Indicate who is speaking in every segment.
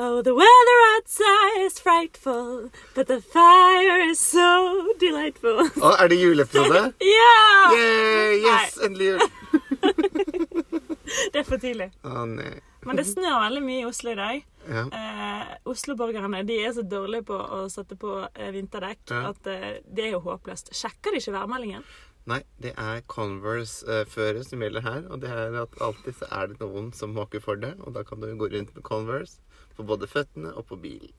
Speaker 1: Oh, the weather outside is frightful, but the fire is so delightful.
Speaker 2: Å, er det juleepisode?
Speaker 1: Ja!
Speaker 2: Yeah, yes, endelig jul.
Speaker 1: Det er for tidlig.
Speaker 2: Å nei.
Speaker 1: Men det snør veldig mye i Oslo i dag.
Speaker 2: Ja.
Speaker 1: Eh, Oslo-borgerne de er så dårlige på å sette på eh, vinterdekk
Speaker 2: Ja.
Speaker 1: at eh, det er jo håpløst. Sjekker de ikke værmeldingen?
Speaker 2: Nei, det er Converse-fører som gjelder her. Og det er at alltid så er det noen som måker for det, og da kan du gå rundt med Converse på både føttene og på bilen.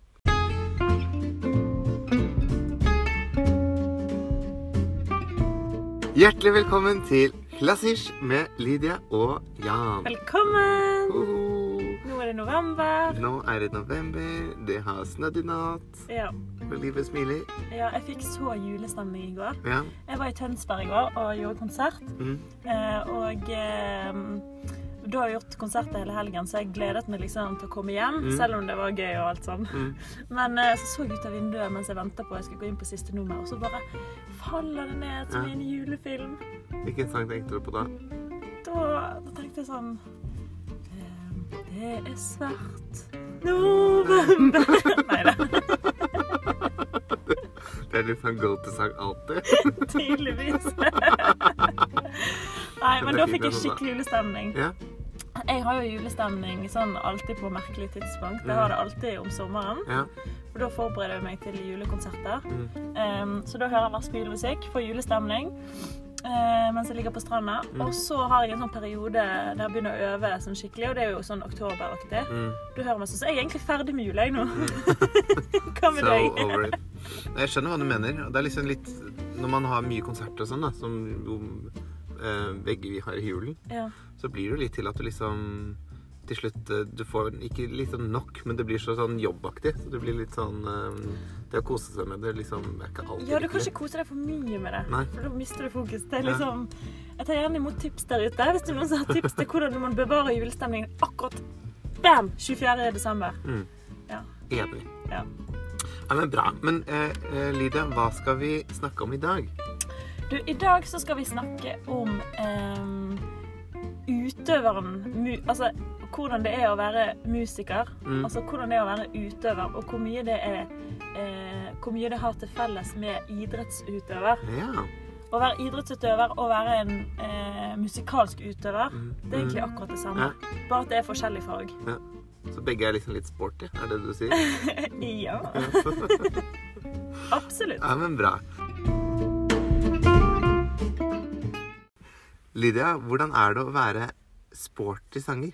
Speaker 2: Hjertelig velkommen til Klassisk med Lydia og Jan.
Speaker 1: Velkommen!
Speaker 2: Hoho.
Speaker 1: Nå er det november.
Speaker 2: Nå er det november, det har snødd i natt,
Speaker 1: Ja,
Speaker 2: og livet smiler.
Speaker 1: ja jeg fikk så julestemning i går.
Speaker 2: Ja.
Speaker 1: Jeg var i Tønsberg i går og gjorde konsert.
Speaker 2: Mm.
Speaker 1: Eh, og eh, da har jeg gjort konserter hele helgen, så jeg gledet meg liksom til å komme hjem.
Speaker 2: Mm.
Speaker 1: Selv om det var gøy og alt sånn.
Speaker 2: Mm.
Speaker 1: Men eh, så så jeg ut av vinduet mens jeg venta på at jeg skulle gå inn på siste nummer, og så bare faller det ned som
Speaker 2: Ja.
Speaker 1: i en julefilm.
Speaker 2: Hvilken sang tenkte du på da?
Speaker 1: Da, da tenkte jeg sånn eh, Det er svart november Nei da,
Speaker 2: Det er liksom go to-sang alltid.
Speaker 1: tydeligvis. Nei, men da fikk jeg skikkelig julestemning.
Speaker 2: Ja.
Speaker 1: Jeg har jo julestemning sånn alltid på merkelig tidspunkt. Jeg
Speaker 2: Mm.
Speaker 1: har det alltid om sommeren.
Speaker 2: ja.
Speaker 1: For da forbereder jeg meg til julekonserter.
Speaker 2: Mm.
Speaker 1: Ehm, så da hører jeg masse julemusikk, får julestemning eh, mens jeg ligger på stranda.
Speaker 2: Mm.
Speaker 1: Og så har jeg en sånn periode der jeg begynner å øve sånn skikkelig, og det er jo sånn oktoberaktig.
Speaker 2: Mm.
Speaker 1: Du hører masse, så jeg er egentlig ferdig med jula, jeg nå. Hva med
Speaker 2: So
Speaker 1: deg?
Speaker 2: over it. Nei, Jeg skjønner hva du mener. og Det er liksom litt Når man har mye konserter og sånn, da, som jo eh, begge vi har i julen,
Speaker 1: Ja.
Speaker 2: så blir det jo litt til at du liksom til slutt eh, Du får ikke liksom nok, men det blir så sånn jobbaktig. Så det blir litt sånn eh, Det å kose seg med det liksom er ikke alltid
Speaker 1: ja, du kan
Speaker 2: lykkelig.
Speaker 1: ikke kose deg for mye med det,
Speaker 2: Nei.
Speaker 1: for da mister du fokus. Det er
Speaker 2: Ja.
Speaker 1: liksom... Jeg tar gjerne imot tips der ute, hvis det er noen som har tips til hvordan man bevarer julestemningen akkurat. Bam! 24. desember.
Speaker 2: Mm.
Speaker 1: Ja.
Speaker 2: Enig.
Speaker 1: Ja.
Speaker 2: Nei, men bra. Men eh, eh, Lydia, hva skal vi snakke om i dag?
Speaker 1: Du, I dag så skal vi snakke om em, utøveren mu Altså hvordan det er å være musiker.
Speaker 2: Mm.
Speaker 1: Altså hvordan det er å være utøver, og hvor mye det er eh, Hvor mye det har til felles med idrettsutøver.
Speaker 2: Ja.
Speaker 1: Å være idrettsutøver og være en eh, musikalsk utøver,
Speaker 2: Mm.
Speaker 1: det er egentlig akkurat det samme. Bare at det er forskjellig farg.
Speaker 2: Så begge er liksom litt sporty, er det du sier?
Speaker 1: Ja. Absolutt.
Speaker 2: Ja, men bra. Lydia, hvordan er det å være sporty sanger?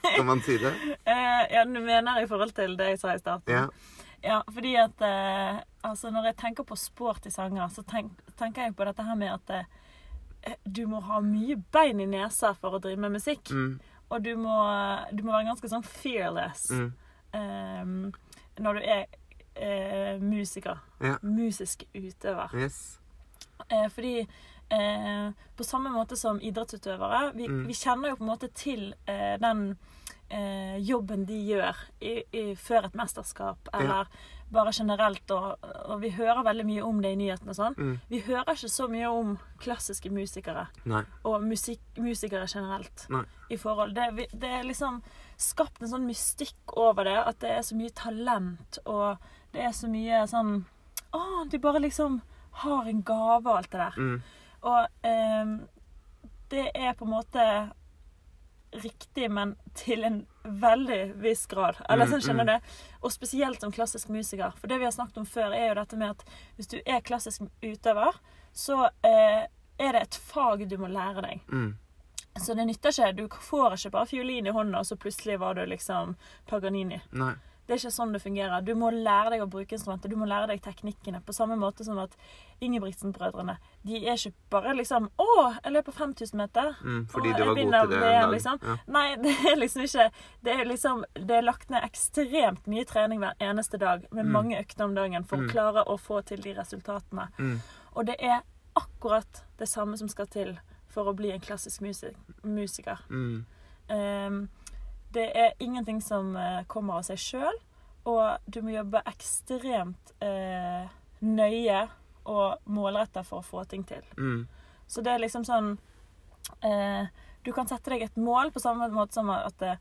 Speaker 2: Kan man si det?
Speaker 1: Eh, ja, du mener i forhold til det jeg sa i starten?
Speaker 2: Ja.
Speaker 1: Ja, fordi at eh, altså når jeg tenker på sport i sanger, så tenk, tenker jeg på dette her med at eh, du må ha mye bein i nesa for å drive med musikk.
Speaker 2: Mm,
Speaker 1: Og du må, du må være ganske sånn fearless
Speaker 2: mm,
Speaker 1: eh, når du er eh, musiker.
Speaker 2: Ja.
Speaker 1: Musisk utøver.
Speaker 2: yes.
Speaker 1: Eh, fordi eh, på samme måte som idrettsutøvere, vi,
Speaker 2: Mm.
Speaker 1: vi kjenner jo på en måte til eh, den eh, jobben de gjør i, i, før et mesterskap, eller bare generelt, og, og vi hører veldig mye om det i nyhetene og sånn.
Speaker 2: Mm.
Speaker 1: Vi hører ikke så mye om klassiske musikere
Speaker 2: Nei.
Speaker 1: og musikk, musikere generelt.
Speaker 2: Nei.
Speaker 1: i forhold. Det, vi- det er liksom skapt en sånn mystikk over det, at det er så mye talent, og det er så mye sånn Å, de bare liksom har en gave og alt det der.
Speaker 2: Mm,
Speaker 1: Og ehm, det er på en måte riktig, men til en veldig viss grad. Eller
Speaker 2: Mm,
Speaker 1: sånn skjønner
Speaker 2: mm.
Speaker 1: du det. Og spesielt som klassisk musiker. For det vi har snakket om før, er jo dette med at hvis du er klassisk utøver, så eh, er det et fag du må lære deg.
Speaker 2: mm,
Speaker 1: Så det nytter ikke. Du får ikke bare fiolin i hånda, og så plutselig var du liksom Paganini.
Speaker 2: nei.
Speaker 1: Det er ikke sånn det fungerer. Du må lære deg å bruke instrumentet, du må lære deg teknikkene. På samme måte som at Ingebrigtsen-brødrene De er ikke bare liksom 'Å, jeg løper 5000 meter.'
Speaker 2: Mm, fordi
Speaker 1: «Å,
Speaker 2: du
Speaker 1: jeg
Speaker 2: var god
Speaker 1: vinner
Speaker 2: til det
Speaker 1: VM»,
Speaker 2: en dag.
Speaker 1: liksom.
Speaker 2: Ja.
Speaker 1: Nei, det er liksom ikke Det er liksom Det er lagt ned ekstremt mye trening hver eneste dag, med
Speaker 2: Mm.
Speaker 1: mange økter om dagen, for
Speaker 2: Mm.
Speaker 1: å klare å få til de resultatene.
Speaker 2: Mm,
Speaker 1: Og det er akkurat det samme som skal til for å bli en klassisk musi- musiker.
Speaker 2: mm,
Speaker 1: Ehm, det er ingenting som eh, kommer av seg sjøl, og du må jobbe ekstremt eh, nøye og målretta for å få ting til.
Speaker 2: mm,
Speaker 1: Så det er liksom sånn eh, Du kan sette deg et mål på samme måte som at eh,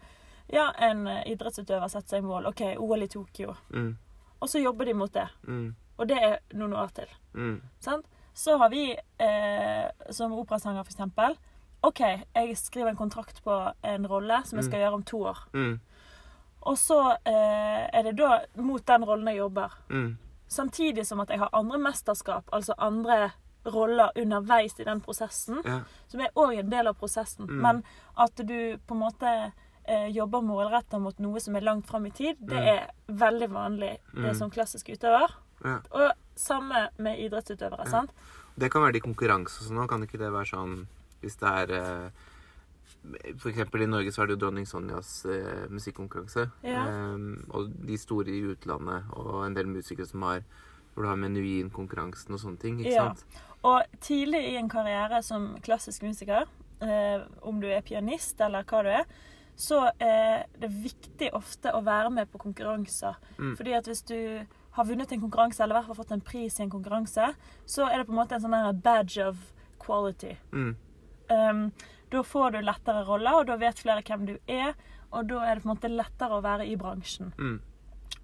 Speaker 1: Ja, en eh, idrettsutøver setter seg mål. OK, OL i Tokyo.
Speaker 2: Mm,
Speaker 1: Og så jobber de mot det.
Speaker 2: mm,
Speaker 1: Og det er noen år til.
Speaker 2: mm,
Speaker 1: Sant? Så har vi, eh, som operasanger for eksempel, OK, jeg skriver en kontrakt på en rolle som jeg skal gjøre om to år.
Speaker 2: mm,
Speaker 1: Og så eh, er det da mot den rollen jeg jobber.
Speaker 2: mm.
Speaker 1: Samtidig som at jeg har andre mesterskap, altså andre roller underveis i den prosessen,
Speaker 2: Ja.
Speaker 1: som er òg en del av prosessen.
Speaker 2: Mm.
Speaker 1: Men at du på en måte eh, jobber målretta mot noe som er langt fram i tid, det
Speaker 2: Mm.
Speaker 1: er veldig vanlig eh,
Speaker 2: Mm.
Speaker 1: som klassisk utøver.
Speaker 2: Ja.
Speaker 1: Og samme med idrettsutøvere,
Speaker 2: Mm.
Speaker 1: sant?
Speaker 2: Det kan være det i konkurranse og sånn òg. Kan ikke det være sånn hvis det er eh, For eksempel i Norge så er det jo dronning Sonjas eh, musikkonkurranse.
Speaker 1: Ja.
Speaker 2: Eh, og de store i utlandet og en del musikere som har hvor du har Menuhin-konkurransen og sånne ting. ikke
Speaker 1: Ja.
Speaker 2: sant?
Speaker 1: Og tidlig i en karriere som klassisk musiker, eh, om du er pianist eller hva du er, så er det viktig ofte å være med på konkurranser.
Speaker 2: Mm.
Speaker 1: Fordi at hvis du har vunnet en konkurranse, eller i hvert fall fått en pris i en konkurranse, så er det på en måte en sånn her badge of quality.
Speaker 2: Mm,
Speaker 1: Um, da får du lettere roller, og da vet flere hvem du er, og da er det på en måte lettere å være i bransjen.
Speaker 2: mm,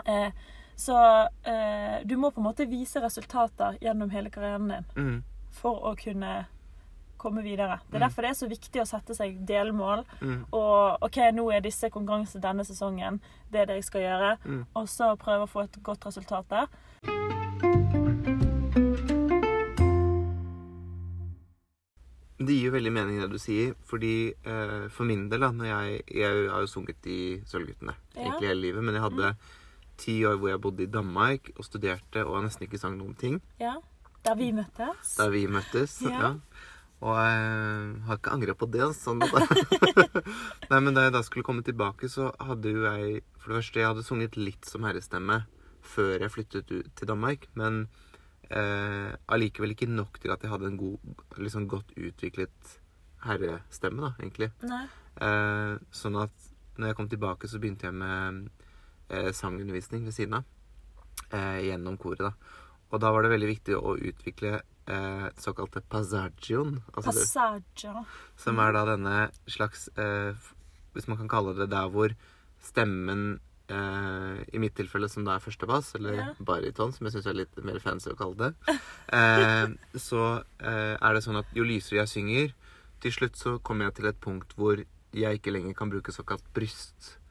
Speaker 1: Eh, så eh, du må på en måte vise resultater gjennom hele karrieren din
Speaker 2: mm,
Speaker 1: for å kunne komme videre. Det er
Speaker 2: Mm.
Speaker 1: derfor det er så viktig å sette seg delmål.
Speaker 2: mm,
Speaker 1: Og OK, nå er disse konkurransene denne sesongen. Det er det jeg skal gjøre.
Speaker 2: mm.
Speaker 1: Og så prøve å få et godt resultat der.
Speaker 2: Det gir jo veldig mening det du sier, fordi eh, for min del da, når jeg, jeg har jo sunget i Sølvguttene
Speaker 1: Ja.
Speaker 2: egentlig hele livet, men jeg hadde ti år hvor jeg bodde i Danmark og studerte og nesten ikke sang noen ting
Speaker 1: Ja. Der vi møttes.
Speaker 2: da vi møttes.
Speaker 1: Ja.
Speaker 2: Ja. Og jeg har ikke angra på det. Sånn at Nei, men da jeg da skulle komme tilbake, så hadde jo jeg For det første, jeg hadde sunget litt som herrestemme før jeg flyttet ut til Danmark, men eh, allikevel ikke nok til at jeg hadde en god, liksom godt utviklet herrestemme, da, egentlig.
Speaker 1: Nei.
Speaker 2: Eh, sånn at når jeg kom tilbake, så begynte jeg med eh, sangundervisning ved siden av. Eh, gjennom koret, da. Og da var det veldig viktig å utvikle eh, såkalte passagion. Altså det,
Speaker 1: Passager.
Speaker 2: som er da denne slags eh, f- Hvis man kan kalle det der hvor stemmen eh, I mitt tilfelle som da er første bass, eller
Speaker 1: Ja.
Speaker 2: bariton, som jeg syns er litt mer fancy å kalle det, eh, så eh, er det sånn at jo lysere jeg synger, til slutt så kommer jeg til et punkt hvor jeg ikke lenger kan bruke såkalt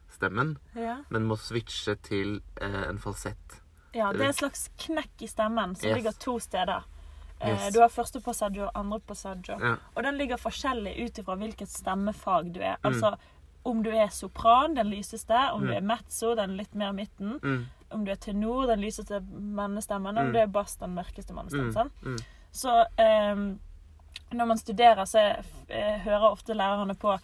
Speaker 2: bryststemmen,
Speaker 1: Ja.
Speaker 2: men må switche til eh, en falsett.
Speaker 1: ja. Det er en slags knekk i stemmen som
Speaker 2: Yes.
Speaker 1: ligger to steder. Eh,
Speaker 2: Yes.
Speaker 1: Du har første passaggio og andre passaggio.
Speaker 2: Ja.
Speaker 1: Og den ligger forskjellig ut ifra hvilket stemmefag du er. Altså om du er sopran, den lyseste, om du
Speaker 2: Mm.
Speaker 1: er mezzo, den litt mer midten,
Speaker 2: Mm,
Speaker 1: om du er tenor, den lyseste mannestemmen, om
Speaker 2: Mm.
Speaker 1: du er bass, den mørkeste mannestemmen.
Speaker 2: mm,
Speaker 1: sant?
Speaker 2: mm,
Speaker 1: Så ehm, når man studerer, så er- eh, hører ofte lærerne på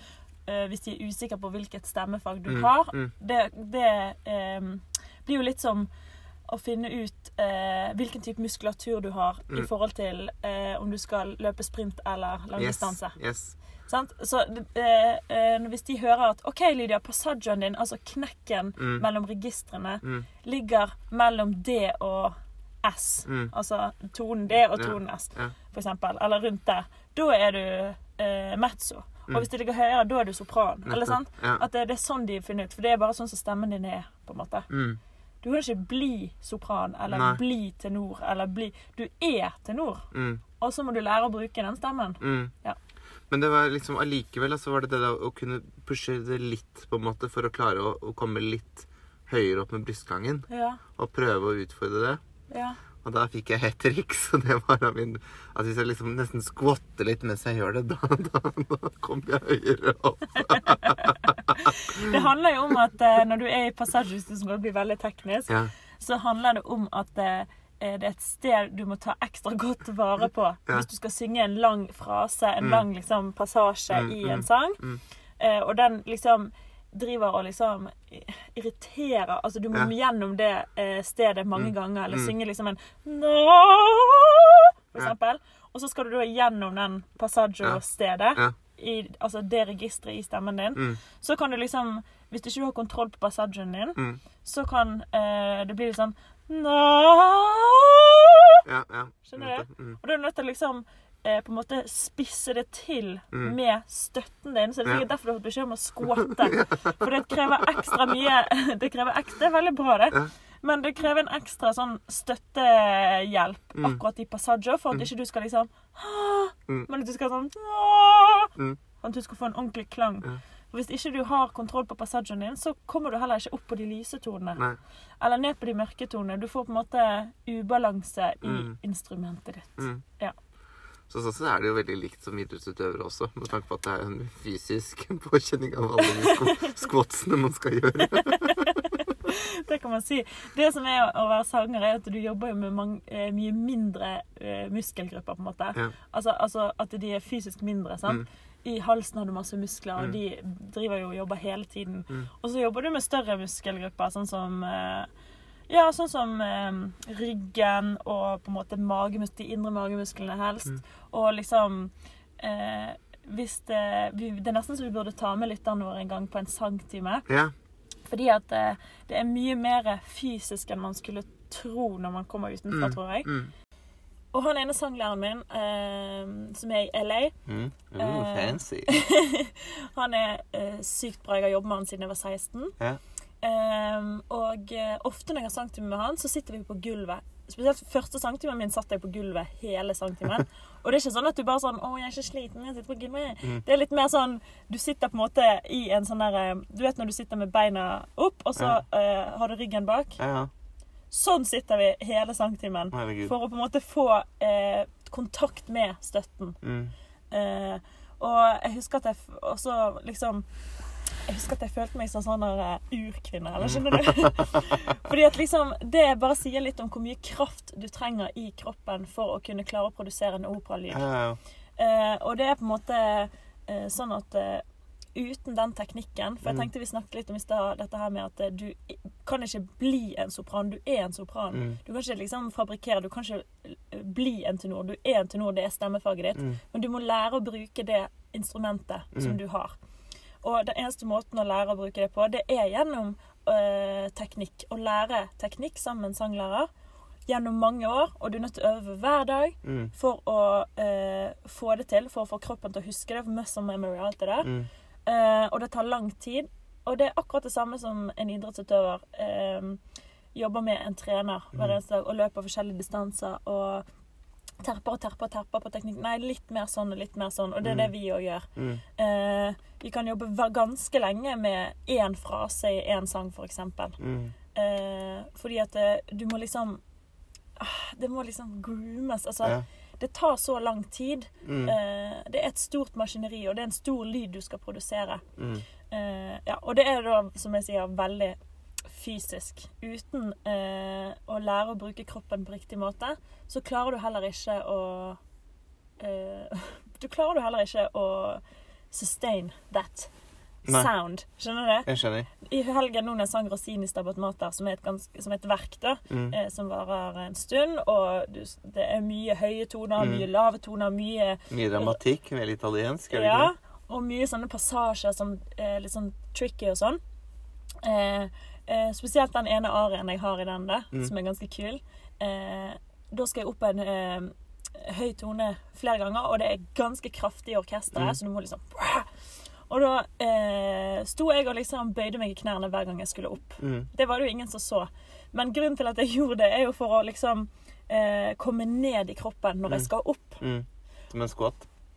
Speaker 1: eh, hvis de er usikre på hvilket stemmefag du
Speaker 2: mm,
Speaker 1: har.
Speaker 2: mm,
Speaker 1: Det, det ehm, blir jo litt som å finne ut eh, hvilken type muskulatur du har i
Speaker 2: Mm.
Speaker 1: forhold til eh, om du skal løpe sprint eller
Speaker 2: yes,
Speaker 1: langdistanse.
Speaker 2: yes.
Speaker 1: Sant? Så eh, eh, hvis de hører at OK, Lydia, passaggioen din, altså knekken
Speaker 2: Mm,
Speaker 1: mellom registrene,
Speaker 2: mm,
Speaker 1: ligger mellom D og S.
Speaker 2: mm,
Speaker 1: Altså tonen D og
Speaker 2: Ja,
Speaker 1: tonen S,
Speaker 2: ja.
Speaker 1: for eksempel. Eller rundt der. Da er du eh, mezzo.
Speaker 2: Mm.
Speaker 1: Og hvis det ligger høyere, da er du sopran. Eller sant?
Speaker 2: nettopp, Ja.
Speaker 1: At det, det er sånn de finner ut. For det er bare sånn som stemmen din er. på en måte.
Speaker 2: Mm.
Speaker 1: Du kan ikke bli sopran eller
Speaker 2: Nei.
Speaker 1: bli tenor eller bli Du er tenor,
Speaker 2: Mm,
Speaker 1: og så må du lære å bruke den stemmen.
Speaker 2: mm.
Speaker 1: Ja.
Speaker 2: Men det var liksom allikevel altså, var det det da, å kunne pushe det litt på en måte for å klare å, å komme litt høyere opp med brystgangen.
Speaker 1: Ja,
Speaker 2: Og prøve å utfordre det.
Speaker 1: ja.
Speaker 2: Og da fikk jeg et triks, og det var av min At hvis jeg liksom nesten skvatter litt mens jeg gjør det, da, da, da kommer jeg høyere opp.
Speaker 1: Det handler jo om at eh, når du er i passasjehuset, som kan bli veldig teknisk,
Speaker 2: Ja.
Speaker 1: så handler det om at eh, det er et sted du må ta ekstra godt vare på
Speaker 2: Ja.
Speaker 1: hvis du skal synge en lang frase, en
Speaker 2: Mm.
Speaker 1: lang liksom, passasje
Speaker 2: Mm,
Speaker 1: i
Speaker 2: mm,
Speaker 1: en sang.
Speaker 2: mm.
Speaker 1: Eh, og den liksom driver og liksom irriterer Altså du må
Speaker 2: Ja.
Speaker 1: gjennom det eh, stedet mange
Speaker 2: Mm,
Speaker 1: ganger, eller
Speaker 2: mm.
Speaker 1: synge liksom en Nå, for
Speaker 2: Ja.
Speaker 1: eksempel. Og så skal du da gjennom den passaggio-stedet,
Speaker 2: Ja.
Speaker 1: i- altså det registeret i stemmen din.
Speaker 2: Mm,
Speaker 1: Så kan du liksom Hvis ikke du har kontroll på passagen din,
Speaker 2: Mm.
Speaker 1: så kan eh, det bli litt sånn Nå
Speaker 2: ja, ja.
Speaker 1: Skjønner du?
Speaker 2: nettopp, Mm,
Speaker 1: Og da er du nødt til å liksom eh, på en måte spisse det til
Speaker 2: Mm.
Speaker 1: med støtten din. Så det er sikkert
Speaker 2: Ja.
Speaker 1: derfor du har fått beskjed om å skvatte. For det krever ekstra mye Det krever ekstra, det er veldig bra, det.
Speaker 2: Ja.
Speaker 1: Men det krever en ekstra sånn støttehjelp
Speaker 2: Mm.
Speaker 1: akkurat i passaggio, for at ikke du skal liksom «Ah»,
Speaker 2: Mm.
Speaker 1: Men at du skal sånn «Ah»,
Speaker 2: Mm.
Speaker 1: At du skal få en ordentlig klang.
Speaker 2: Ja.
Speaker 1: For Hvis ikke du har kontroll på passaggioen din, så kommer du heller ikke opp på de lyse tonene.
Speaker 2: Nei.
Speaker 1: Eller ned på de mørke tonene. Du får på en måte ubalanse i
Speaker 2: Mm.
Speaker 1: instrumentet ditt.
Speaker 2: Mm.
Speaker 1: Ja.
Speaker 2: Så sånn sett er det jo veldig likt som idrettsutøvere også, med tanke på at det er en fysisk påkjenning av alle de sko- squatsene man skal gjøre.
Speaker 1: Det kan man si. Det som er å være sanger, er at du jobber jo med mang- eh, mye mindre eh, muskelgrupper, på en måte.
Speaker 2: Ja.
Speaker 1: Altså, altså at de er fysisk mindre. sant?
Speaker 2: Mm.
Speaker 1: I halsen har du masse muskler, og
Speaker 2: Mm.
Speaker 1: de driver jo og jobber hele tiden.
Speaker 2: Mm.
Speaker 1: Og så jobber du med større muskelgrupper, sånn som eh, ja, sånn som eh, ryggen og på en måte magemus de indre magemusklene helst.
Speaker 2: Mm.
Speaker 1: Og liksom eh, hvis det, vi, det er nesten så vi burde ta med lytterne våre en gang på en sangtime.
Speaker 2: Ja.
Speaker 1: Fordi at eh, det er mye mer fysisk enn man skulle tro når man kommer utenfra,
Speaker 2: Mm.
Speaker 1: tror jeg.
Speaker 2: Mm.
Speaker 1: Og han ene sanglæreren min, eh, som er i LA,
Speaker 2: Mm.
Speaker 1: Eh.
Speaker 2: fancy.
Speaker 1: han er eh, sykt bra. Jeg har jobbet med han siden jeg var 16.
Speaker 2: Ja.
Speaker 1: Eh, og eh, ofte når jeg har sangtime med han, så sitter vi på gulvet. Spesielt første sangtimen min satt jeg på gulvet hele sangtimen. Og det er ikke sånn at du bare sånn 'Å, jeg er ikke sliten, jeg sitter på gulvet'.
Speaker 2: Mm.
Speaker 1: Det er litt mer sånn Du sitter på en måte i en sånn der eh, Du vet når du sitter med beina opp, og så eh, har du ryggen bak.
Speaker 2: Ja, ja.
Speaker 1: Sånn sitter vi hele sangtimen.
Speaker 2: Herregud.
Speaker 1: For å på en måte få eh, kontakt med støtten.
Speaker 2: Mm.
Speaker 1: Eh, og jeg husker at jeg f- også liksom Jeg husker at jeg følte meg som sånn der, eh, urkvinne, eller skjønner du? Fordi at liksom Det bare sier litt om hvor mye kraft du trenger i kroppen for å kunne klare å produsere en operalyd.
Speaker 2: Ja, ja, ja.
Speaker 1: Eh, og det er på en måte eh, sånn at eh, uten den teknikken For jeg
Speaker 2: Mm.
Speaker 1: tenkte vi snakket litt om i stad dette her med at eh, du i- kan ikke bli en sopran. Du er en sopran.
Speaker 2: Mm.
Speaker 1: Du kan ikke liksom fabrikkere. Du kan ikke eh, bli en tenor. Du er en tenor, det er stemmefaget ditt.
Speaker 2: Mm.
Speaker 1: Men du må lære å bruke det instrumentet som
Speaker 2: Mm.
Speaker 1: du har. Og den eneste måten å lære å bruke det på, det er gjennom øh, teknikk. Å lære teknikk sammen med en sanglærer gjennom mange år. Og du er nødt til å øve hver dag
Speaker 2: Mm.
Speaker 1: for å øh, få det til, for å få kroppen til å huske det. For muscle memory og alt det der.
Speaker 2: Mm.
Speaker 1: Eh, og det tar lang tid. Og det er akkurat det samme som en idrettsutøver eh, jobber med en trener
Speaker 2: Mm.
Speaker 1: hver eneste dag og løper forskjellige distanser og terper og terper og terper på teknikk. Nei, litt mer sånn og litt mer sånn, og det er det vi òg gjør.
Speaker 2: Mm.
Speaker 1: Eh, vi kan jobbe va- ganske lenge med én frase i én sang, f.eks. eksempel
Speaker 2: Mm.
Speaker 1: Eh, fordi at eh, du må liksom ah, Det må liksom groomes. Altså,
Speaker 2: Ja.
Speaker 1: det tar så lang tid.
Speaker 2: Mm.
Speaker 1: Eh, det er et stort maskineri, og det er en stor lyd du skal produsere.
Speaker 2: Mm.
Speaker 1: Eh, ja, og det er da, som jeg sier, veldig fysisk. Uten eh, å lære å bruke kroppen på riktig måte, så klarer du heller ikke å eh, Du klarer du heller ikke å sustain that
Speaker 2: Nei.
Speaker 1: sound. Skjønner du?
Speaker 2: Jeg skjønner.
Speaker 1: I helgen nå når jeg sang 'Rosin i Stabat Mater', som er et, gans- som er et verk, da,
Speaker 2: Mm.
Speaker 1: eh, som varer en stund, og du, s- det er mye høye toner,
Speaker 2: Mm.
Speaker 1: mye lave toner, mye
Speaker 2: Mye dramatikk, veldig italiensk, er det
Speaker 1: ja,
Speaker 2: ikke
Speaker 1: og mye sånne passasjer som er litt sånn tricky og sånn. Eh, eh, spesielt den ene arien jeg har i den der,
Speaker 2: Mm.
Speaker 1: som er ganske kul. Eh, da skal jeg opp en eh, høy tone flere ganger, og det er ganske kraftig i orkesteret,
Speaker 2: Mm.
Speaker 1: så du må liksom Og da eh, sto jeg og liksom bøyde meg i knærne hver gang jeg skulle opp.
Speaker 2: det? Mm.
Speaker 1: Det var det jo ingen som så. Men grunnen til at jeg gjorde det, er jo for å liksom eh, komme ned i kroppen når jeg
Speaker 2: Mm.
Speaker 1: skal opp.
Speaker 2: Mm. Som en squat.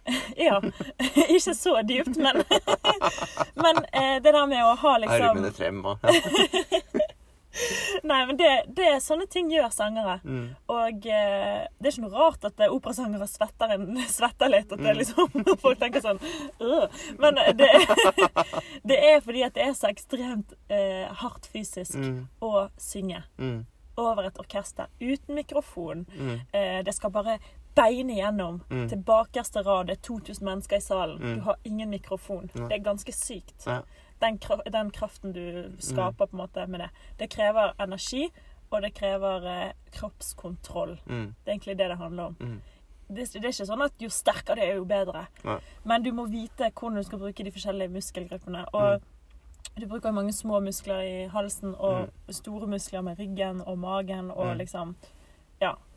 Speaker 1: Liksom- Ja. Ikke så dypt, men Men eh, det der med å ha liksom
Speaker 2: Armene frem og ja.
Speaker 1: Nei, men det, det er sånne ting gjør sangere.
Speaker 2: mm.
Speaker 1: Og eh, det er ikke noe rart at eh, operasangere svetter, en, svetter litt. At det er liksom folk tenker sånn «Øh». Men eh, det, det er fordi at det er så ekstremt eh, hardt fysisk
Speaker 2: Mm.
Speaker 1: å synge
Speaker 2: Mm.
Speaker 1: over et orkester uten mikrofon.
Speaker 2: Mm.
Speaker 1: Eh, det skal bare beine gjennom.
Speaker 2: Mm.
Speaker 1: Til bakerste rad det er 2000 mennesker i salen.
Speaker 2: Mm.
Speaker 1: Du har ingen mikrofon.
Speaker 2: Nei.
Speaker 1: Det er ganske sykt.
Speaker 2: Ja. Mm.
Speaker 1: Den, kra- den kraften du skaper på en måte med det. Det krever energi, og det krever eh, kroppskontroll.
Speaker 2: Mm.
Speaker 1: Det er egentlig det det handler om.
Speaker 2: Mm.
Speaker 1: Det, det er ikke sånn at jo sterkere det er, jo bedre.
Speaker 2: Nei.
Speaker 1: Men du må vite hvordan du skal bruke de forskjellige muskelgruppene. Og
Speaker 2: Mm.
Speaker 1: du bruker jo mange små muskler i halsen, og store muskler med ryggen og magen og
Speaker 2: Mm.
Speaker 1: liksom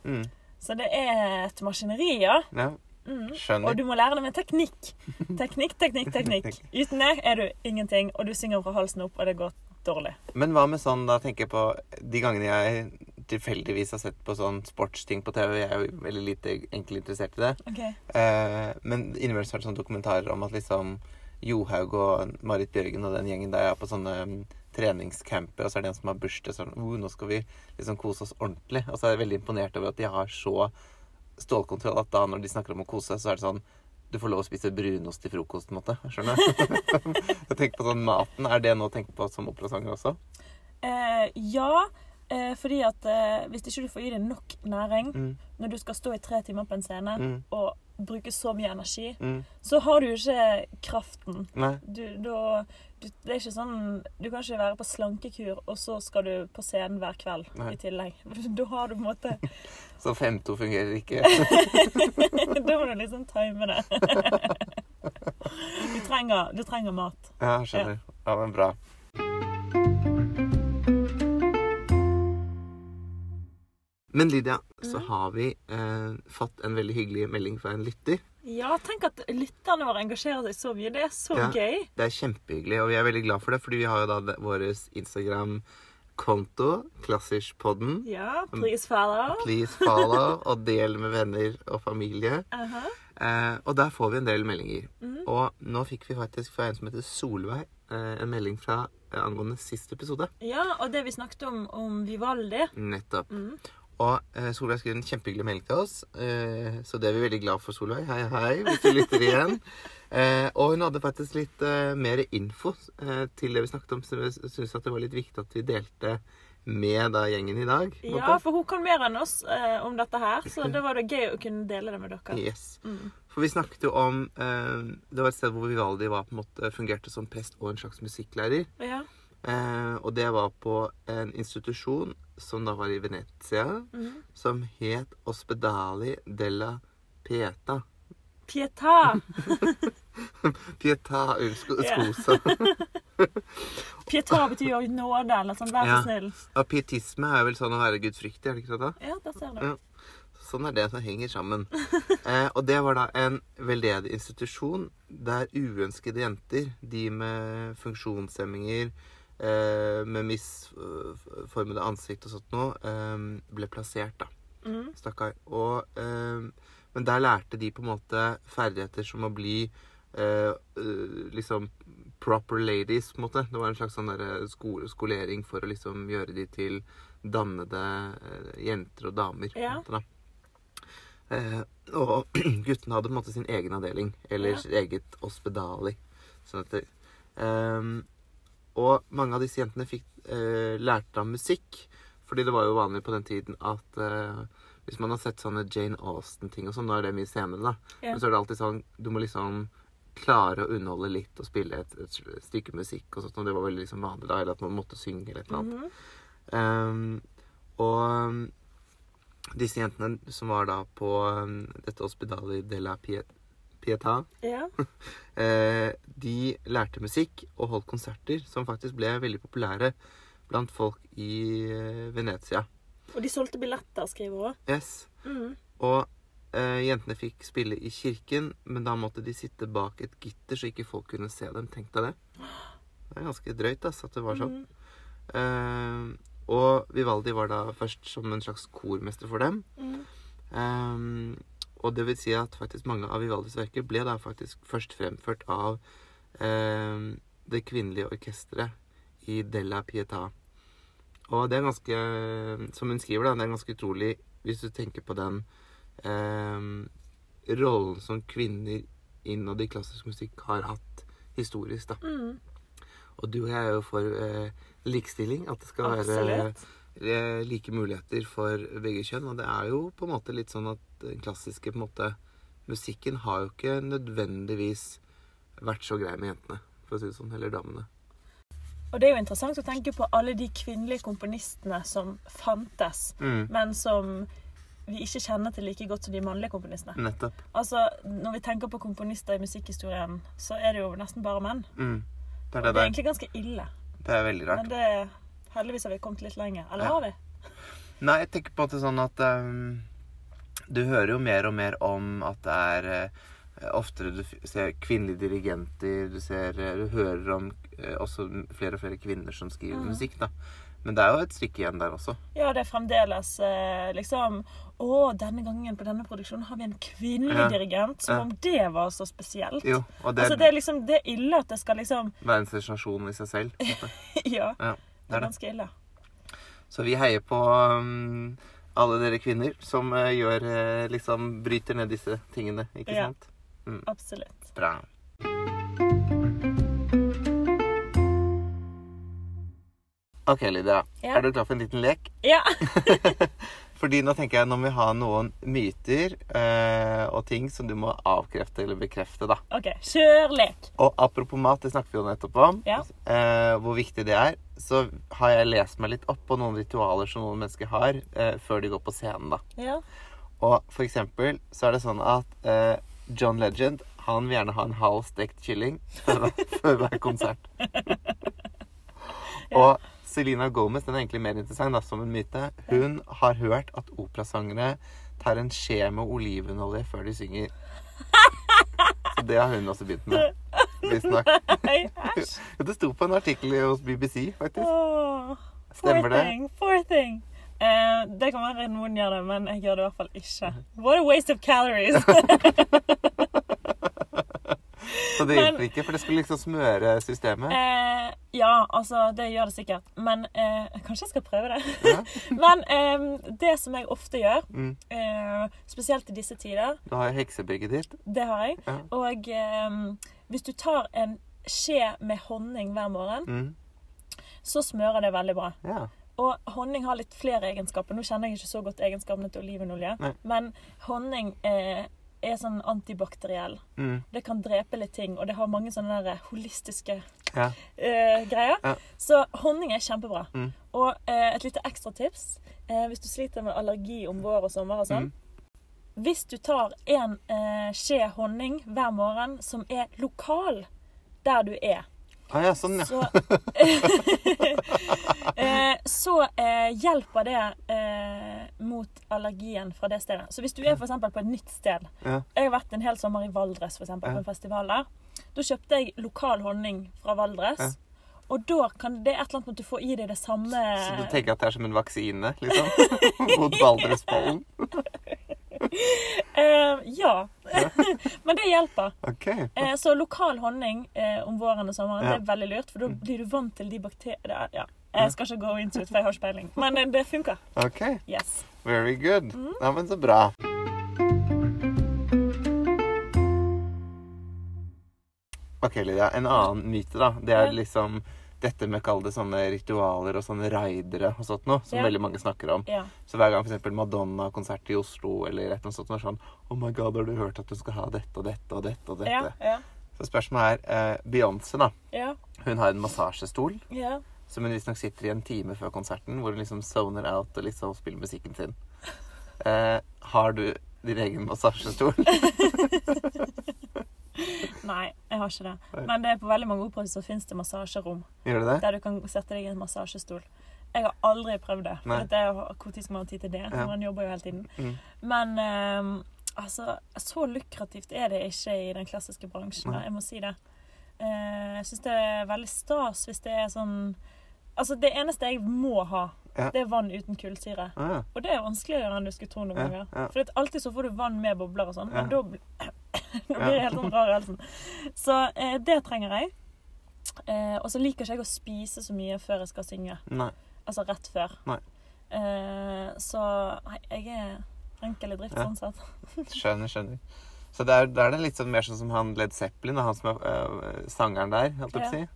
Speaker 2: Mm.
Speaker 1: Så det er et maskineri, ja.
Speaker 2: ja.
Speaker 1: Mm.
Speaker 2: Skjønner.
Speaker 1: Og du må lære deg med teknikk. Teknikk, teknikk, teknikk. Uten det er du ingenting, og du synger fra halsen opp, og det går dårlig.
Speaker 2: Men hva med sånn, da tenker jeg på de gangene jeg tilfeldigvis har sett på sånn sportsting på TV. Jeg er jo veldig lite egentlig interessert i det.
Speaker 1: Ok.
Speaker 2: Eh, men innimellom så er det sånne dokumentarer om at liksom Johaug og Marit Bjørgen og den gjengen der er på sånne mm, treningscamper, og så er det en som har bursdag sånn oh, nå skal vi liksom kose oss ordentlig. Og så er jeg veldig imponert over at de har så stålkontroll at da når de snakker om å kose seg, så er det sånn du får lov å spise brunost til frokost, på en måte. Skjønner du? jeg tenker på sånn maten. Er det noe å tenke på som operasanger også?
Speaker 1: Eh, ja, eh, fordi at eh, hvis ikke du får i deg nok næring
Speaker 2: Mm,
Speaker 1: når du skal stå i tre timer på en scene
Speaker 2: mm,
Speaker 1: og bruke så mye energi,
Speaker 2: mm.
Speaker 1: så har du jo ikke kraften.
Speaker 2: Nei.
Speaker 1: Du, da, du, det er ikke sånn, du kan ikke være på slankekur, og så skal du på scenen hver kveld
Speaker 2: Nei.
Speaker 1: i tillegg. Da har du på en måte
Speaker 2: Så 5-2 fungerer ikke.
Speaker 1: Da må du liksom time det. Du trenger, du trenger mat.
Speaker 2: Ja, skjønner. Ja, men bra. Men Lydia, så har vi eh, fått en veldig hyggelig melding fra en lytter.
Speaker 1: Ja, tenk at lytterne våre engasjerer seg så mye. Det er så
Speaker 2: Ja.
Speaker 1: gøy.
Speaker 2: Det er kjempehyggelig, og vi er veldig glad for det, fordi vi har jo da det- vår Instagram-konto, Klassiskpodden.
Speaker 1: Ja, prisfeller.
Speaker 2: Please follow, og del med venner og familie.
Speaker 1: Aha.
Speaker 2: Eh, og der får vi en del meldinger.
Speaker 1: Mm.
Speaker 2: Og nå fikk vi faktisk fra en som heter Solveig, eh, en melding fra eh, angående siste episode.
Speaker 1: Ja, og det vi snakket om om Vivaldi.
Speaker 2: Nettopp.
Speaker 1: Mm.
Speaker 2: Og eh, Solveig skrev en kjempehyggelig melding til oss, eh, så det er vi veldig glad for, Solveig. Hei, hei, hvis du lytter igjen. Eh, og hun hadde faktisk litt eh, mer info eh, til det vi snakket om, så jeg syntes at det var litt viktig at vi delte med da gjengen i dag. på en
Speaker 1: Ja,
Speaker 2: måte.
Speaker 1: for hun kan mer enn oss eh, om dette her, så da var det gøy å kunne dele det med dere.
Speaker 2: Yes.
Speaker 1: Mm.
Speaker 2: For vi snakket jo om eh, Det var et sted hvor Vivaldi var, på en måte, fungerte som prest og en slags musikklærer.
Speaker 1: Ja.
Speaker 2: Eh, og det var på en institusjon som da var i Venezia,
Speaker 1: Mm.
Speaker 2: som het Ospedali della Pieta.
Speaker 1: Pietà.
Speaker 2: Pieta sko,
Speaker 1: Ja.
Speaker 2: skosa.
Speaker 1: Pietà betyr jo nåde, eller sånn, vær
Speaker 2: Ja.
Speaker 1: så snill.
Speaker 2: Ja, pietisme er vel sånn å være gudfryktig, er det ikke det? da?
Speaker 1: Ja, der ser du.
Speaker 2: Ja. Sånn er det som henger sammen. Eh, og det var da en veldedig institusjon der uønskede jenter, de med funksjonshemminger, eh, med misformede ansikt og sånt noe, eh, ble plassert, da.
Speaker 1: Mm.
Speaker 2: Stakkar. Og, eh, men der lærte de på en måte ferdigheter som å bli eh, eh, liksom proper ladies, på en måte. Det var en slags sånn derre sko skolering for å liksom gjøre de til dannede eh, jenter og damer. på en
Speaker 1: Ja.
Speaker 2: måte, da. Eh, og guttene hadde på en måte sin egen avdeling, eller
Speaker 1: Ja.
Speaker 2: sitt eget ospedali. Sånn at det, ehm, og mange av disse jentene fikk, eh, lærte av musikk. Fordi det var jo vanlig på den tiden at eh, hvis man har sett sånne Jane Austen-ting og sånn, nå er det mye senere, da.
Speaker 1: Ja.
Speaker 2: Men så er det alltid sånn Du må liksom klare å underholde litt og spille et, et stykke musikk og sånt. Og det var veldig liksom vanlig da, eller at man måtte synge eller et eller annet.
Speaker 1: Mhm.
Speaker 2: Ehm, og ehm, disse jentene som var da på ehm, dette Ospedali della Piet Pietà,
Speaker 1: Ja.
Speaker 2: Eh, de lærte musikk og holdt konserter som faktisk ble veldig populære blant folk i eh, Venezia.
Speaker 1: Og de solgte billetter, skriver hun.
Speaker 2: Yes.
Speaker 1: Mm.
Speaker 2: Og eh, jentene fikk spille i kirken, men da måtte de sitte bak et gitter så ikke folk kunne se dem. Tenk deg det. Det er ganske drøyt ass, at det var sånn.
Speaker 1: Mm.
Speaker 2: Eh, og Vivaldi var da først som en slags kormester for dem.
Speaker 1: Mm.
Speaker 2: Ehm, og det vil si at faktisk mange av Vivaldis verker ble da faktisk først fremført av ehm, det kvinnelige orkesteret i Della Pietà. Og det er ganske, som hun skriver, da, det er ganske utrolig hvis du tenker på den ehm, rollen som kvinner innad i klassisk musikk har hatt historisk, da.
Speaker 1: Mm.
Speaker 2: Og du og jeg er jo for eh, likestilling. At det skal være
Speaker 1: Absolutt.
Speaker 2: eh, like muligheter for begge kjønn. Og det er jo på en måte litt sånn at den klassiske på en måte, musikken har jo ikke nødvendigvis vært så grei med jentene, for å si det sånn. Eller damene.
Speaker 1: Og det er jo interessant å tenke på alle de kvinnelige komponistene som fantes,
Speaker 2: Mm.
Speaker 1: men som vi ikke kjenner til like godt som de mannlige komponistene.
Speaker 2: Nettopp.
Speaker 1: Altså, Når vi tenker på komponister i musikkhistorien, så er det jo nesten bare menn.
Speaker 2: Mm. Det
Speaker 1: Og
Speaker 2: er
Speaker 1: det
Speaker 2: det
Speaker 1: er
Speaker 2: der.
Speaker 1: egentlig ganske ille,
Speaker 2: Det er veldig
Speaker 1: men
Speaker 2: rart.
Speaker 1: det heldigvis har vi kommet litt lenger. Eller
Speaker 2: Ja.
Speaker 1: har vi?
Speaker 2: Nei, jeg tenker på at det er sånn at ehm, Du hører jo mer og mer om at det er eh, oftere du f- ser kvinnelige dirigenter, du ser eh, Du hører om eh, også flere og flere kvinner som skriver
Speaker 1: Mhm.
Speaker 2: musikk, da. Men det er jo et stykke igjen der også.
Speaker 1: Ja, det er fremdeles eh, liksom Å, denne gangen på denne produksjonen har vi en kvinnelig
Speaker 2: Ja.
Speaker 1: dirigent. Som
Speaker 2: Ja.
Speaker 1: om det var så spesielt.
Speaker 2: Jo, og det,
Speaker 1: altså, det er liksom Det er ille at det skal liksom
Speaker 2: være en sensasjon i seg selv. på en måte.
Speaker 1: Ja.
Speaker 2: Ja,
Speaker 1: Det er
Speaker 2: det er det.
Speaker 1: ganske ille.
Speaker 2: Så vi heier på um, alle dere kvinner som eh, gjør eh, liksom Bryter ned disse tingene, ikke
Speaker 1: Ja.
Speaker 2: sant?
Speaker 1: Absolutt.
Speaker 2: Bra. OK, Lydia.
Speaker 1: Ja.
Speaker 2: Er du klar for en liten lek?
Speaker 1: Ja.
Speaker 2: Fordi nå tenker jeg nå må vi ha noen myter eh, og ting som du må avkrefte eller bekrefte, da.
Speaker 1: OK. Kjør lek.
Speaker 2: Og apropos mat, det snakker vi jo nettopp om,
Speaker 1: Ja.
Speaker 2: eh, hvor viktig det er. Så har jeg lest meg litt opp på noen ritualer som noen mennesker har eh, før de går på scenen, da.
Speaker 1: Ja.
Speaker 2: Og for eksempel så er det sånn at eh, John Legend han vil gjerne ha en halv stekt kylling før, hver- før hver konsert. Og Selena Gomez den er egentlig mer interessant da, som en myte. Hun har hørt at operasangere tar en skje med olivenolje før de synger. Så det har hun også begynt med. Visstnok.
Speaker 1: Nei, æsj.
Speaker 2: Ja, Det sto på en artikkel hos BBC, faktisk.
Speaker 1: Åh,
Speaker 2: Stemmer
Speaker 1: Poor
Speaker 2: det?
Speaker 1: thing. Poor thing. Eh, det kan være noen gjør det, men jeg gjør det i hvert fall ikke. What a waste of calories.
Speaker 2: Så det
Speaker 1: Men-
Speaker 2: hjelper ikke, for det skulle liksom smøre systemet.
Speaker 1: Eh, ja, altså, det gjør det sikkert. Men eh, kanskje jeg skal prøve det.
Speaker 2: Ja.
Speaker 1: Men eh, det som jeg ofte gjør,
Speaker 2: Mm.
Speaker 1: eh, spesielt i disse tider,
Speaker 2: Du har jo heksebygget ditt.
Speaker 1: det har jeg.
Speaker 2: Ja.
Speaker 1: Og eh, hvis du tar en skje med honning hver morgen,
Speaker 2: Mm.
Speaker 1: så smører det veldig bra.
Speaker 2: Ja.
Speaker 1: Og honning har litt flere egenskaper. Nå kjenner jeg ikke så godt egenskapene til olivenolje,
Speaker 2: Nei.
Speaker 1: men honning eh, er sånn antibakteriell.
Speaker 2: Mm.
Speaker 1: Det kan drepe litt ting, og det har mange sånne der holistiske
Speaker 2: Ja.
Speaker 1: eh, greier.
Speaker 2: Ja.
Speaker 1: Så honning er kjempebra.
Speaker 2: Mm.
Speaker 1: Og eh, et lite ekstra tips eh, hvis du sliter med allergi om vår og sommer og
Speaker 2: Mm.
Speaker 1: sånn. Hvis du tar en eh, skje honning hver morgen som er lokal der du er,
Speaker 2: Ah, ja, sånn, ja.
Speaker 1: så eh, Så eh, hjelper det eh, mot allergien fra det stedet. Så hvis du er for eksempel på et nytt sted
Speaker 2: Ja.
Speaker 1: Jeg har vært en hel sommer i Valdres, for eksempel, på en festival der. Da kjøpte jeg lokal honning fra Valdres.
Speaker 2: Ja.
Speaker 1: Og da kan det er et eller annet med at du får i deg det samme
Speaker 2: Så du tenker at det er som en vaksine, liksom? Mot Valdresbollen?
Speaker 1: eh, Ja. Men det hjelper.
Speaker 2: Ok.
Speaker 1: Eh, så lokal honning eh, om våren og sommeren
Speaker 2: Ja.
Speaker 1: det
Speaker 2: Mm.
Speaker 1: er veldig lurt, for da blir du vant til de bakteriene ja. Jeg skal ikke gå into it, for jeg har ikke peiling. Men eh, det funker.
Speaker 2: ok.
Speaker 1: Yes.
Speaker 2: Very good.
Speaker 1: Mm.
Speaker 2: Ja, men så bra. Ok, Lydia. En annen myte, da. Det
Speaker 1: Ja.
Speaker 2: er liksom dette med å kalle det sånne ritualer og sånne raidere og sånt noe, som
Speaker 1: Ja.
Speaker 2: veldig mange snakker om.
Speaker 1: Ja.
Speaker 2: Så hver gang for eksempel Madonna har konsert i Oslo eller et eller annet sånt, så er det sånn Oh my god, har du hørt at du skal ha dette og dette og dette og
Speaker 1: Ja,
Speaker 2: dette?
Speaker 1: ja,
Speaker 2: Så spørsmålet er eh, Beyoncé, da.
Speaker 1: ja,
Speaker 2: Hun har en massasjestol
Speaker 1: ja.
Speaker 2: som hun visstnok sitter i en time før konserten, hvor hun liksom zoner out og liksom spiller musikken sin. Eh, har du din egen massasjestol?
Speaker 1: Nei, jeg har ikke det.
Speaker 2: Nei.
Speaker 1: Men det er på veldig mange operahus så fins det massasjerom
Speaker 2: Gjør du det?
Speaker 1: der du kan sette deg i en massasjestol. Jeg har aldri prøvd det.
Speaker 2: Nei.
Speaker 1: For at jeg har Når skal man ha tid til det?
Speaker 2: Ja.
Speaker 1: Man jobber jo hele tiden.
Speaker 2: Mm.
Speaker 1: Men ehm, altså Så lukrativt er det ikke i den klassiske bransjen. da.
Speaker 2: Nei.
Speaker 1: Jeg må si det. Eh, jeg syns det er veldig stas hvis det er sånn Altså, det eneste jeg må ha,
Speaker 2: Ja.
Speaker 1: det er vann uten kullsyre.
Speaker 2: Ah,
Speaker 1: Og det er vanskeligere enn du skulle tro noen
Speaker 2: Ja,
Speaker 1: ganger.
Speaker 2: ja.
Speaker 1: For at alltid så får du vann med bobler og sånn, men
Speaker 2: Ja.
Speaker 1: da bl- da blir jeg helt sånn rar i halsen. Så eh, det trenger jeg. Eh, og så liker ikke jeg å spise så mye før jeg skal synge.
Speaker 2: nei.
Speaker 1: Altså rett før.
Speaker 2: Nei.
Speaker 1: Eh, så nei, jeg er enkel i drift
Speaker 2: Ja.
Speaker 1: sånn sett.
Speaker 2: Skjønner, skjønner. Så da er, da er det litt sånn mer sånn som han Led Zeppelin, og han som er øh, sangeren der, holdt jeg på å si.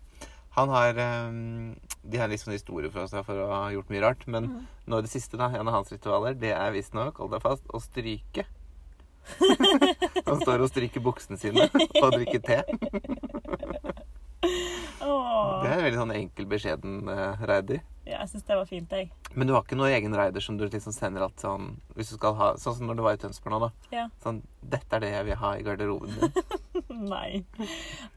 Speaker 2: Han har øhm, De har liksom historie for seg for å ha gjort mye rart, men
Speaker 1: Mhm.
Speaker 2: nå i det siste, da, en av hans ritualer, det er visstnok, hold deg fast, å stryke. han står og stryker buksene sine og drikker te.
Speaker 1: Åh.
Speaker 2: Det er en veldig sånn enkel, beskjeden eh, raider.
Speaker 1: Ja, jeg syns det var fint, jeg.
Speaker 2: Men du har ikke noen egen raider som du liksom sender at sånn Hvis du skal ha Sånn som når du var i Tønsberg nå, da.
Speaker 1: Ja.
Speaker 2: Sånn Dette er det jeg vil ha i garderoben min.
Speaker 1: Nei.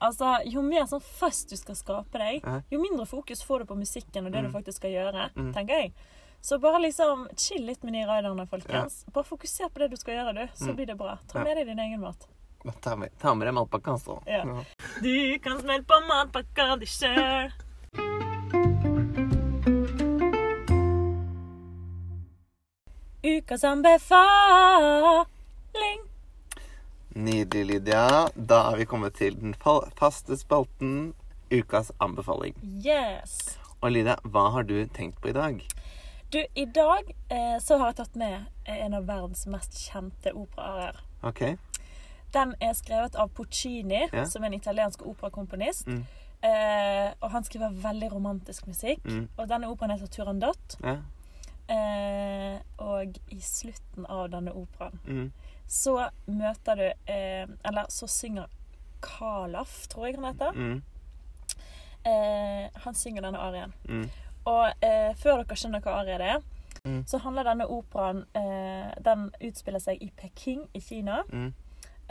Speaker 1: Altså, jo mer sånn fast du skal skape deg,
Speaker 2: Ja.
Speaker 1: jo mindre fokus får du på musikken og det du
Speaker 2: Mm.
Speaker 1: faktisk skal gjøre,
Speaker 2: Mm.
Speaker 1: tenker jeg. Så bare liksom chill litt med de riderne, folkens. Bare fokuser på det du skal gjøre, du. Så
Speaker 2: Mm.
Speaker 1: blir det bra. Ta
Speaker 2: Ja.
Speaker 1: med deg din egen mat.
Speaker 2: Men Ta med, ta med deg matpakka, altså.
Speaker 1: Ja. Du kan smelle på matpakka di sjøl. Ukas anbefaling.
Speaker 2: Nydelig, Lydia. Da er vi kommet til den fa- faste spalten Ukas anbefaling.
Speaker 1: Yes.
Speaker 2: Og Lydia, hva har du tenkt på i dag?
Speaker 1: Du, i dag eh, så har jeg tatt med eh, en av verdens mest kjente operaer.
Speaker 2: OK?
Speaker 1: Den er skrevet av Puccini,
Speaker 2: Ja.
Speaker 1: som er en italiensk operakomponist.
Speaker 2: Mm.
Speaker 1: Eh, og han skriver veldig romantisk musikk.
Speaker 2: Mm.
Speaker 1: Og denne operaen heter Turandot.
Speaker 2: Ja.
Speaker 1: Eh, og i slutten av denne operaen
Speaker 2: Mm.
Speaker 1: så møter du eh, Eller så synger Kalaf, tror jeg han heter.
Speaker 2: Mm.
Speaker 1: Eh, han synger denne arien.
Speaker 2: Mm.
Speaker 1: Og eh, før dere skjønner hva arie det er,
Speaker 2: Mm.
Speaker 1: så handler denne operaen eh, Den utspiller seg i Peking i Kina.
Speaker 2: Mm.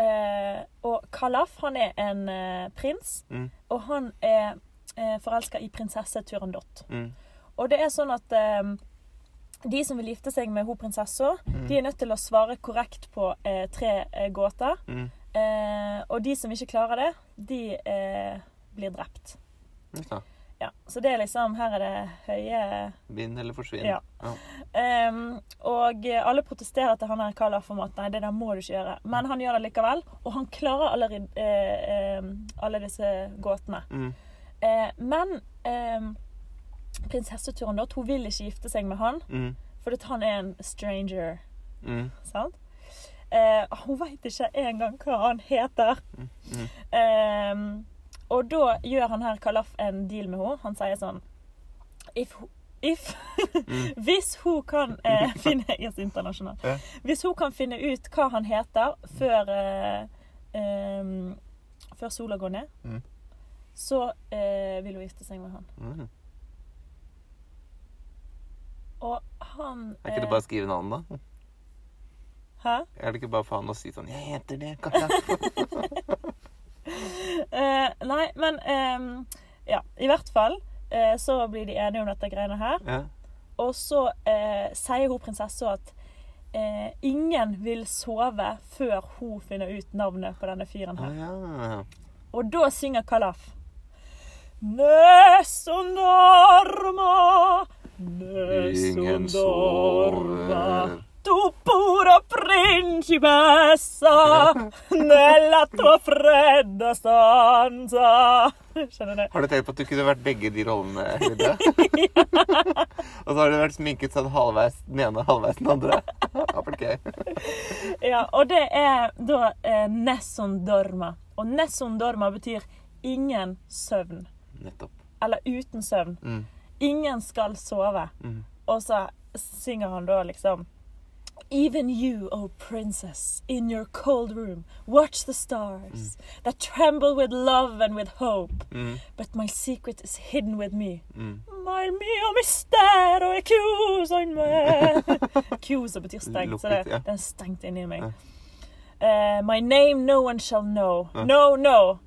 Speaker 1: Eh, og Kalaf, han er en eh, prins,
Speaker 2: Mm.
Speaker 1: og han er eh, forelska i prinsesse Turandot.
Speaker 2: Mm.
Speaker 1: Og det er sånn at eh, de som vil gifte seg med hun prinsessa,
Speaker 2: Mm.
Speaker 1: de er nødt til å svare korrekt på eh, tre eh, gåter.
Speaker 2: Mm.
Speaker 1: Eh, og de som ikke klarer det, de eh, blir drept.
Speaker 2: Just da.
Speaker 1: Ja, Så det er liksom Her er det høye
Speaker 2: Vinn eller forsvinn.
Speaker 1: Ja. Ehm, og alle protesterer til han her Kalaf om at nei, det der må du ikke gjøre. Men han gjør det likevel, og han klarer alle, rid- eh, ehm, alle disse gåtene.
Speaker 2: Mm.
Speaker 1: Eh, men ehm, prinsesse Turandot hun vil ikke gifte seg med han,
Speaker 2: Mm.
Speaker 1: fordi at han er en stranger.
Speaker 2: Mm.
Speaker 1: Sant? Eh, hun veit ikke engang hva han heter.
Speaker 2: Mm.
Speaker 1: Ehm, og da gjør han her Kalaf en deal med henne. Han sier sånn If, ho- if
Speaker 2: Mm.
Speaker 1: Hvis hun kan eh, finne Jeg er så internasjonal.
Speaker 2: Ja.
Speaker 1: Hvis hun kan finne ut hva han heter før eh, ehm, Før sola går ned,
Speaker 2: Mm.
Speaker 1: så eh, vil hun gifte seg med han.
Speaker 2: Mm.
Speaker 1: Og han eh,
Speaker 2: Er ikke det bare å skrive navn, da?
Speaker 1: Hæ?
Speaker 2: Er det ikke bare for han å si sånn 'Jeg heter det, Karla'?
Speaker 1: Eh, nei, men ehm, Ja, i hvert fall eh, så blir de enige om dette greiene her.
Speaker 2: ja.
Speaker 1: Og så eh, sier hun prinsessa at eh, ingen vil sove før hun finner ut navnet på denne fyren
Speaker 2: Å
Speaker 1: her.
Speaker 2: ja.
Speaker 1: Og da synger Kalaf. Nesundorma,
Speaker 2: Ingen
Speaker 1: nesundorma,
Speaker 2: sover.
Speaker 1: tu pura principessa, nella tua fredda stanza. Skjønner du?
Speaker 2: Har du tenkt på at du kunne vært begge de rollene? Lydia? og så har du vært sminket sånn halvveis den ene, halvveis den andre. Ok.
Speaker 1: Ja, og det er da eh, Nessondorma. Og Nessondorma betyr ingen søvn.
Speaker 2: Nettopp.
Speaker 1: Eller uten søvn.
Speaker 2: Mm.
Speaker 1: Ingen skal sove.
Speaker 2: Mm.
Speaker 1: Og så synger han da liksom Even you, O princess, in your cold room, watch the stars that tremble with love and with hope.
Speaker 2: Mm.
Speaker 1: But my secret is hidden with me.
Speaker 2: Mm.
Speaker 1: My mio mistero e chiuso in me. Chiuso betyr stengt, så det,
Speaker 2: Lukket, ja.
Speaker 1: det er stengt inni meg.
Speaker 2: Ja.
Speaker 1: Eh, my name no one shall know.
Speaker 2: Ja.
Speaker 1: No, no.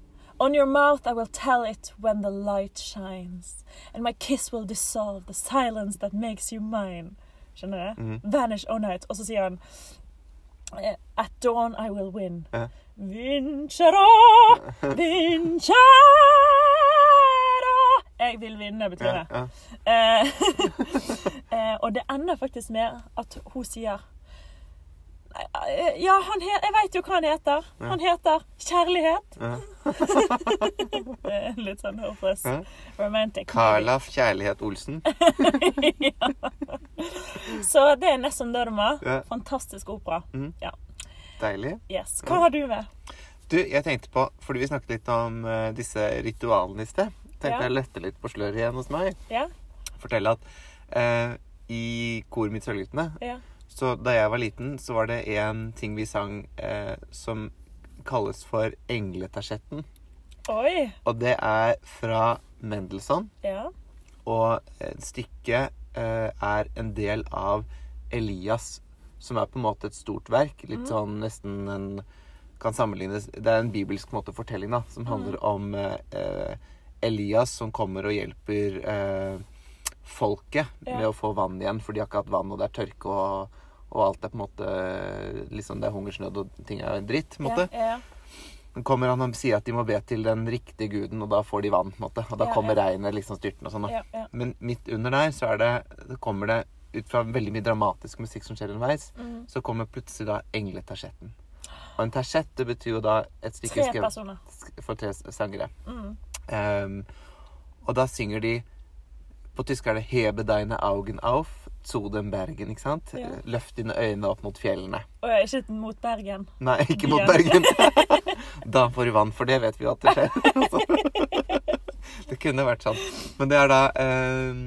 Speaker 1: On your mouth I will tell it when the light shines. And my kiss will dissolve the silence that makes you mine. Skjønner du?
Speaker 2: Mhm.
Speaker 1: Vanish all night. Og så sier han eh, At dawn I will win.
Speaker 2: Ja.
Speaker 1: Vincero, vincero Jeg vil vinne, betyr det.
Speaker 2: Ja, ja.
Speaker 1: Eh, eh, og det ender faktisk med at hun sier eh, Ja, han he jeg veit jo hva han heter.
Speaker 2: Ja.
Speaker 1: Han heter Kjærlighet.
Speaker 2: ja.
Speaker 1: Eh, Litt sånn hopeless.
Speaker 2: Ja.
Speaker 1: Romantic.
Speaker 2: Karlaf Kjærlighet Olsen.
Speaker 1: Så det er nesten Dorma.
Speaker 2: Ja. Mm.
Speaker 1: Fantastisk opera.
Speaker 2: Deilig.
Speaker 1: Yes. Hva har du med?
Speaker 2: Du, jeg tenkte på, fordi vi snakket litt om eh, disse ritualene i sted, tenkte
Speaker 1: Ja.
Speaker 2: jeg å lette litt på sløret igjen hos meg.
Speaker 1: Ja?
Speaker 2: Fortelle at eh, i koret mitt Sølvguttene,
Speaker 1: ja.
Speaker 2: så da jeg var liten, så var det en ting vi sang eh, som kalles for Engletasjetten.
Speaker 1: Oi.
Speaker 2: Og det er fra Mendelssohn.
Speaker 1: Ja.
Speaker 2: Og eh, stykket eh, er en del av Elias, som er på en måte et stort verk.
Speaker 1: Mhm.
Speaker 2: Litt sånn nesten en Kan sammenlignes Det er en bibelsk måte å fortelling, da,
Speaker 1: Mhm.
Speaker 2: som handler om eh, eh, Elias som kommer og hjelper eh, folket
Speaker 1: Ja.
Speaker 2: med å få vann igjen, for de har ikke hatt vann, og det er tørke, og, og alt er på en måte liksom Det er hungersnød, og ting er dritt. på en måte.
Speaker 1: Ja, ja.
Speaker 2: Men kommer han og sier at de må be til den riktige guden, og da får de vann, på en måte. Og da
Speaker 1: Ja,
Speaker 2: kommer
Speaker 1: ja.
Speaker 2: regnet liksom styrtende og sånn. da.
Speaker 1: ja, ja.
Speaker 2: Men midt under der så er det, det kommer det ut fra veldig mye dramatisk musikk som skjer underveis,
Speaker 1: Mhm.
Speaker 2: så kommer plutselig da engletasjetten. Og en tasjett, det betyr jo da et stykke
Speaker 1: Tre
Speaker 2: skrevet
Speaker 1: personer.
Speaker 2: sk- for tre s- sangere.
Speaker 1: Mm.
Speaker 2: Ehm, og da synger de På tysk er det 'Hebe deine Augen auf zu den Bergen', ikke sant?
Speaker 1: Ja.
Speaker 2: Løft dine øyne opp mot fjellene.
Speaker 1: Og jeg er ikke mot Bergen.
Speaker 2: Nei, ikke mot
Speaker 1: Ja.
Speaker 2: Bergen. da får du vann, for det vet vi jo at det skjer. det kunne vært sånn. Men det er da eh,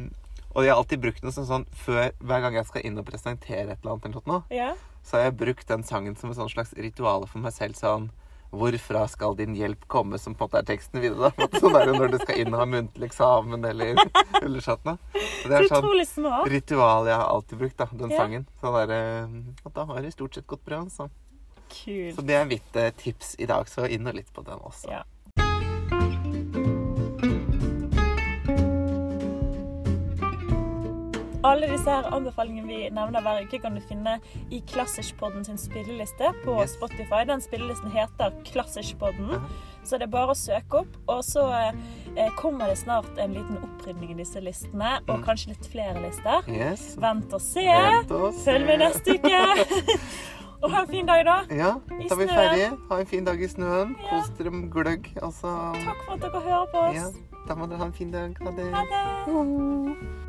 Speaker 2: Og jeg har alltid brukt den som sånn før Hver gang jeg skal inn og presentere et eller annet, eller noe,
Speaker 1: Ja,
Speaker 2: så har jeg brukt den sangen som et sånn slags ritual for meg selv. sånn Hvorfra skal din hjelp komme, som på en måte er teksten videre. da. Sånn er det når du skal inn og ha muntlig eksamen eller, eller sånt noe. Og Det
Speaker 1: så
Speaker 2: er sånn
Speaker 1: utrolig smart.
Speaker 2: ritual jeg har alltid brukt, da, den
Speaker 1: Ja.
Speaker 2: sangen. Så det er, eh, at da har det stort sett gått bra. sånn.
Speaker 1: Kult.
Speaker 2: Så det er mitt eh, tips i dag, så inn og litt på den også.
Speaker 1: Ja. Alle disse her anbefalingene vi nevner hver uke, kan du finne i Klassiskpodden sin spilleliste på
Speaker 2: Yes.
Speaker 1: Spotify. Den spillelisten heter Klassiskpodden,
Speaker 2: Mhm.
Speaker 1: så det er bare å søke opp. Og så eh, kommer det snart en liten opprydning i disse listene, og
Speaker 2: Mm.
Speaker 1: kanskje litt flere lister.
Speaker 2: Yes.
Speaker 1: Vent og se.
Speaker 2: Vent og se.
Speaker 1: Følg med neste uke. og ha en fin dag, da.
Speaker 2: Ja,
Speaker 1: I
Speaker 2: da er vi
Speaker 1: snøen.
Speaker 2: ferdige. Ha en fin dag i snøen.
Speaker 1: Ja.
Speaker 2: Kos dere med gløgg. Altså,
Speaker 1: Takk for at dere hører på
Speaker 2: ja,
Speaker 1: oss.
Speaker 2: da må dere ha en fin dag. Ha det.
Speaker 1: Ha det.
Speaker 2: Ho, ho.